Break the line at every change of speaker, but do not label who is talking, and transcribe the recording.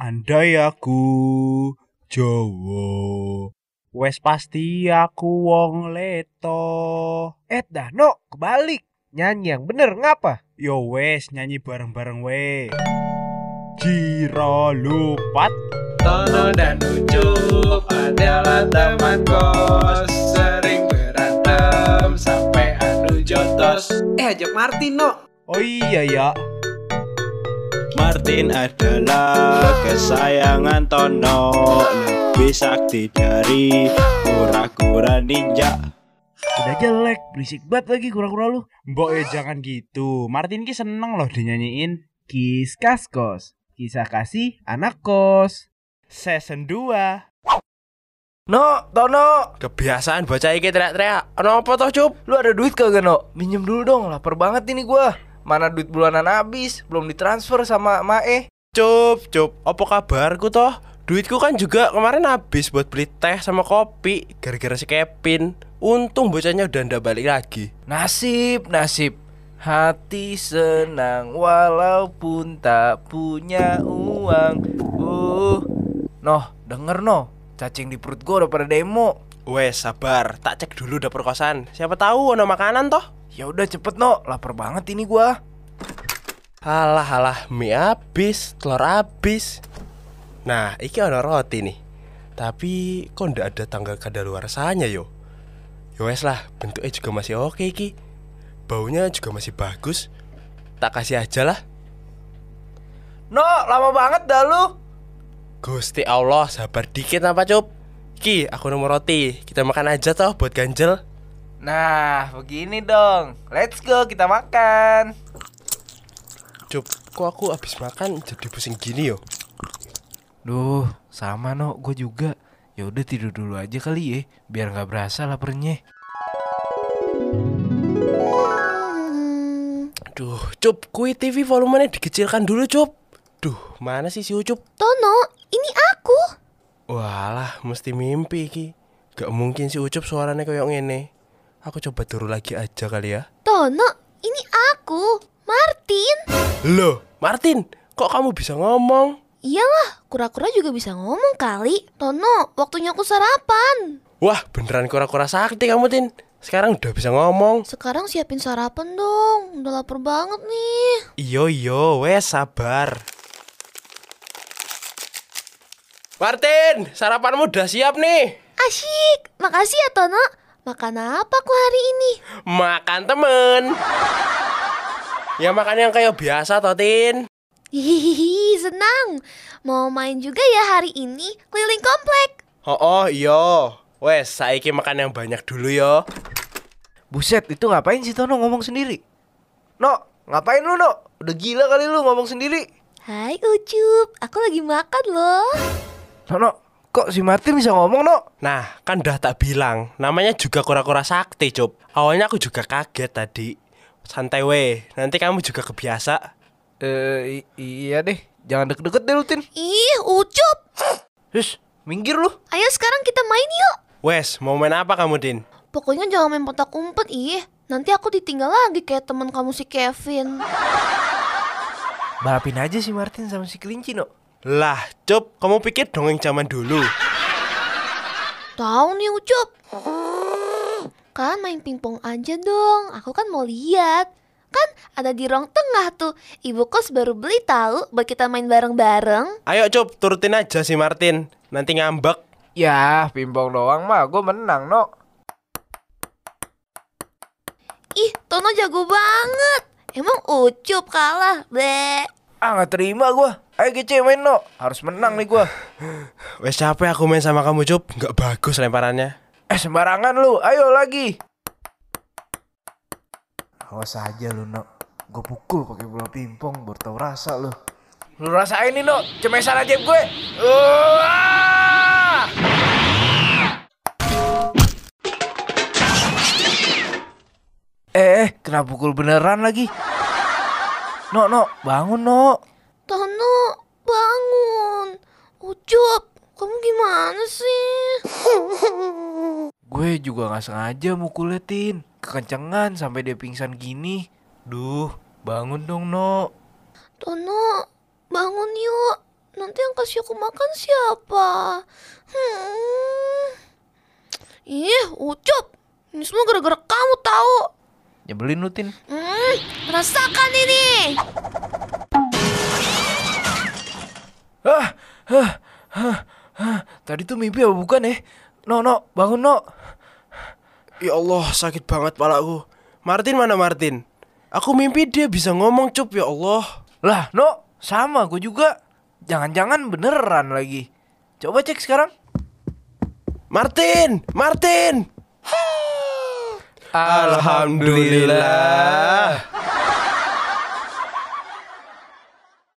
Andai aku Jawa, wes pasti aku wong leto.
Eh, Dano, kebalik. Nyanyi yang bener ngapa?
Yo wes nyanyi bareng-bareng we. Jiro lupat
Tono dan Ucup adalah teman kos Sering berantem sampai adu jotos
Eh, ajak Martin, no.
Oh iya ya,
Martin adalah kesayangan Tono Lebih sakti dari kura-kura ninja
Udah jelek, berisik banget lagi kura-kura lu.
Mbok ya jangan gitu. Martin ki seneng loh dinyanyiin.
Kiskas kos. Kisah kasih anak kos.
Season 2.
No, Tono,
Kebiasaan bocah iki teriak-teriak. Ono apa toh, Cup?
lu ada duit kagak no? Minjem dulu dong, lapar banget ini gua. Mana duit bulanan habis, belum ditransfer sama Mae.
Cup, Cup. Apa kabarku toh? Duitku kan juga kemarin habis buat beli teh sama kopi gara-gara si Kevin. Untung bocahnya udah ndak balik lagi.
Nasib, nasib. Hati senang walaupun tak punya uang. Uh. Noh, denger no. Cacing di perut gua udah pada demo.
Wes, sabar. Tak cek dulu dapur kosan. Siapa tahu ono makanan toh?
Ya udah cepet no, lapar banget ini gua.
Halah, halah. Mie habis, telur habis. Nah, iki ono roti nih. Tapi kok ndak ada tanggal kadaluarsanya yo? Yo wes lah, bentuknya juga masih oke iki. Baunya juga masih bagus. Tak kasih aja lah.
No, lama banget dah lu.
Gusti Allah, sabar dikit apa cup? Ki, aku nomor roti. Kita makan aja toh buat ganjel.
Nah, begini dong. Let's go kita makan.
Cup, kok aku habis makan jadi pusing gini yo?
Duh, sama no, gue juga. Ya udah tidur dulu aja kali ya, biar nggak berasa laparnya.
Duh, cup, kui TV volumenya dikecilkan dulu cup. Duh, mana sih si Ucup?
Tono, ini aku.
Walah, mesti mimpi iki. Gak mungkin si Ucup suaranya kayak ngene. Aku coba turu lagi aja kali ya.
Tono, ini aku. Martin.
Loh, Martin, kok kamu bisa ngomong?
Iyalah, kura-kura juga bisa ngomong kali. Tono, waktunya aku sarapan.
Wah, beneran kura-kura sakti kamu, Tin. Sekarang udah bisa ngomong.
Sekarang siapin sarapan dong. Udah lapar banget nih.
Iyo iyo, wes sabar. Martin, sarapanmu udah siap nih.
Asyik. Makasih ya, Tono. Makan apa aku hari ini?
Makan temen. Ya makan yang kayak biasa, Totin.
Hihihi, senang. Mau main juga ya hari ini keliling komplek.
Oh, oh iyo. Wes, saiki makan yang banyak dulu yo.
Buset, itu ngapain sih Tono ngomong sendiri? No, ngapain lu no? Udah gila kali lu ngomong sendiri.
Hai Ucup, aku lagi makan loh.
Tono, kok si Martin bisa ngomong no?
Nah, kan udah tak bilang, namanya juga kura-kura sakti, Cup. Awalnya aku juga kaget tadi. Santai weh, nanti kamu juga kebiasa.
Eh, i- iya deh. Jangan deket-deket deh lu, Tin.
Ih, Ucup.
Hus, minggir lu.
Ayo sekarang kita main yuk.
Wes, mau main apa kamu, Din?
Pokoknya jangan main petak umpet, ih. Nanti aku ditinggal lagi kayak teman kamu si Kevin.
Balapin aja si Martin sama si kelinci no.
Lah, Cup, kamu pikir dongeng zaman dulu.
Tahu nih Ucup. Kan main pingpong aja dong. Aku kan mau lihat. Kan ada di ruang tengah tuh. Ibu kos baru beli tahu buat kita main bareng-bareng.
Ayo, Cup, turutin aja si Martin. Nanti ngambek.
Ya, pimpong doang mah gue menang no.
Ih, Tono jago banget. Emang Ucup kalah, be.
Ah, nggak terima gua. Ayo kece main no. Harus menang nih gua.
Wes capek aku main sama kamu, Cup. Nggak bagus lemparannya.
Eh sembarangan lu, ayo lagi. Awas aja lu, No. Gue pukul pakai bola pimpong baru tau rasa lu. Lu rasain nih, No. Cemesan aja gue. Uah! Eh, eh, kena pukul beneran lagi. No, no, bangun, No.
Tono, bangun. Ucup, kamu gimana sih?
Gue juga nggak sengaja mukulnya Tin Kekencengan sampai dia pingsan gini Duh bangun dong No
Tono, bangun yuk. Nanti yang kasih aku makan siapa? Hmm. Ih, Ucup. Ini semua gara-gara kamu tahu.
Nyebelin lu, Tin.
Hmm, rasakan ini.
Ah, ah, ah, ah. Tadi tuh mimpi apa bukan eh? No, no, bangun no.
Ya Allah, sakit banget palaku. Martin mana Martin? Aku mimpi dia bisa ngomong cup ya Allah.
Lah, no, sama gue juga. Jangan-jangan beneran lagi. Coba cek sekarang.
Martin, Martin. Alhamdulillah.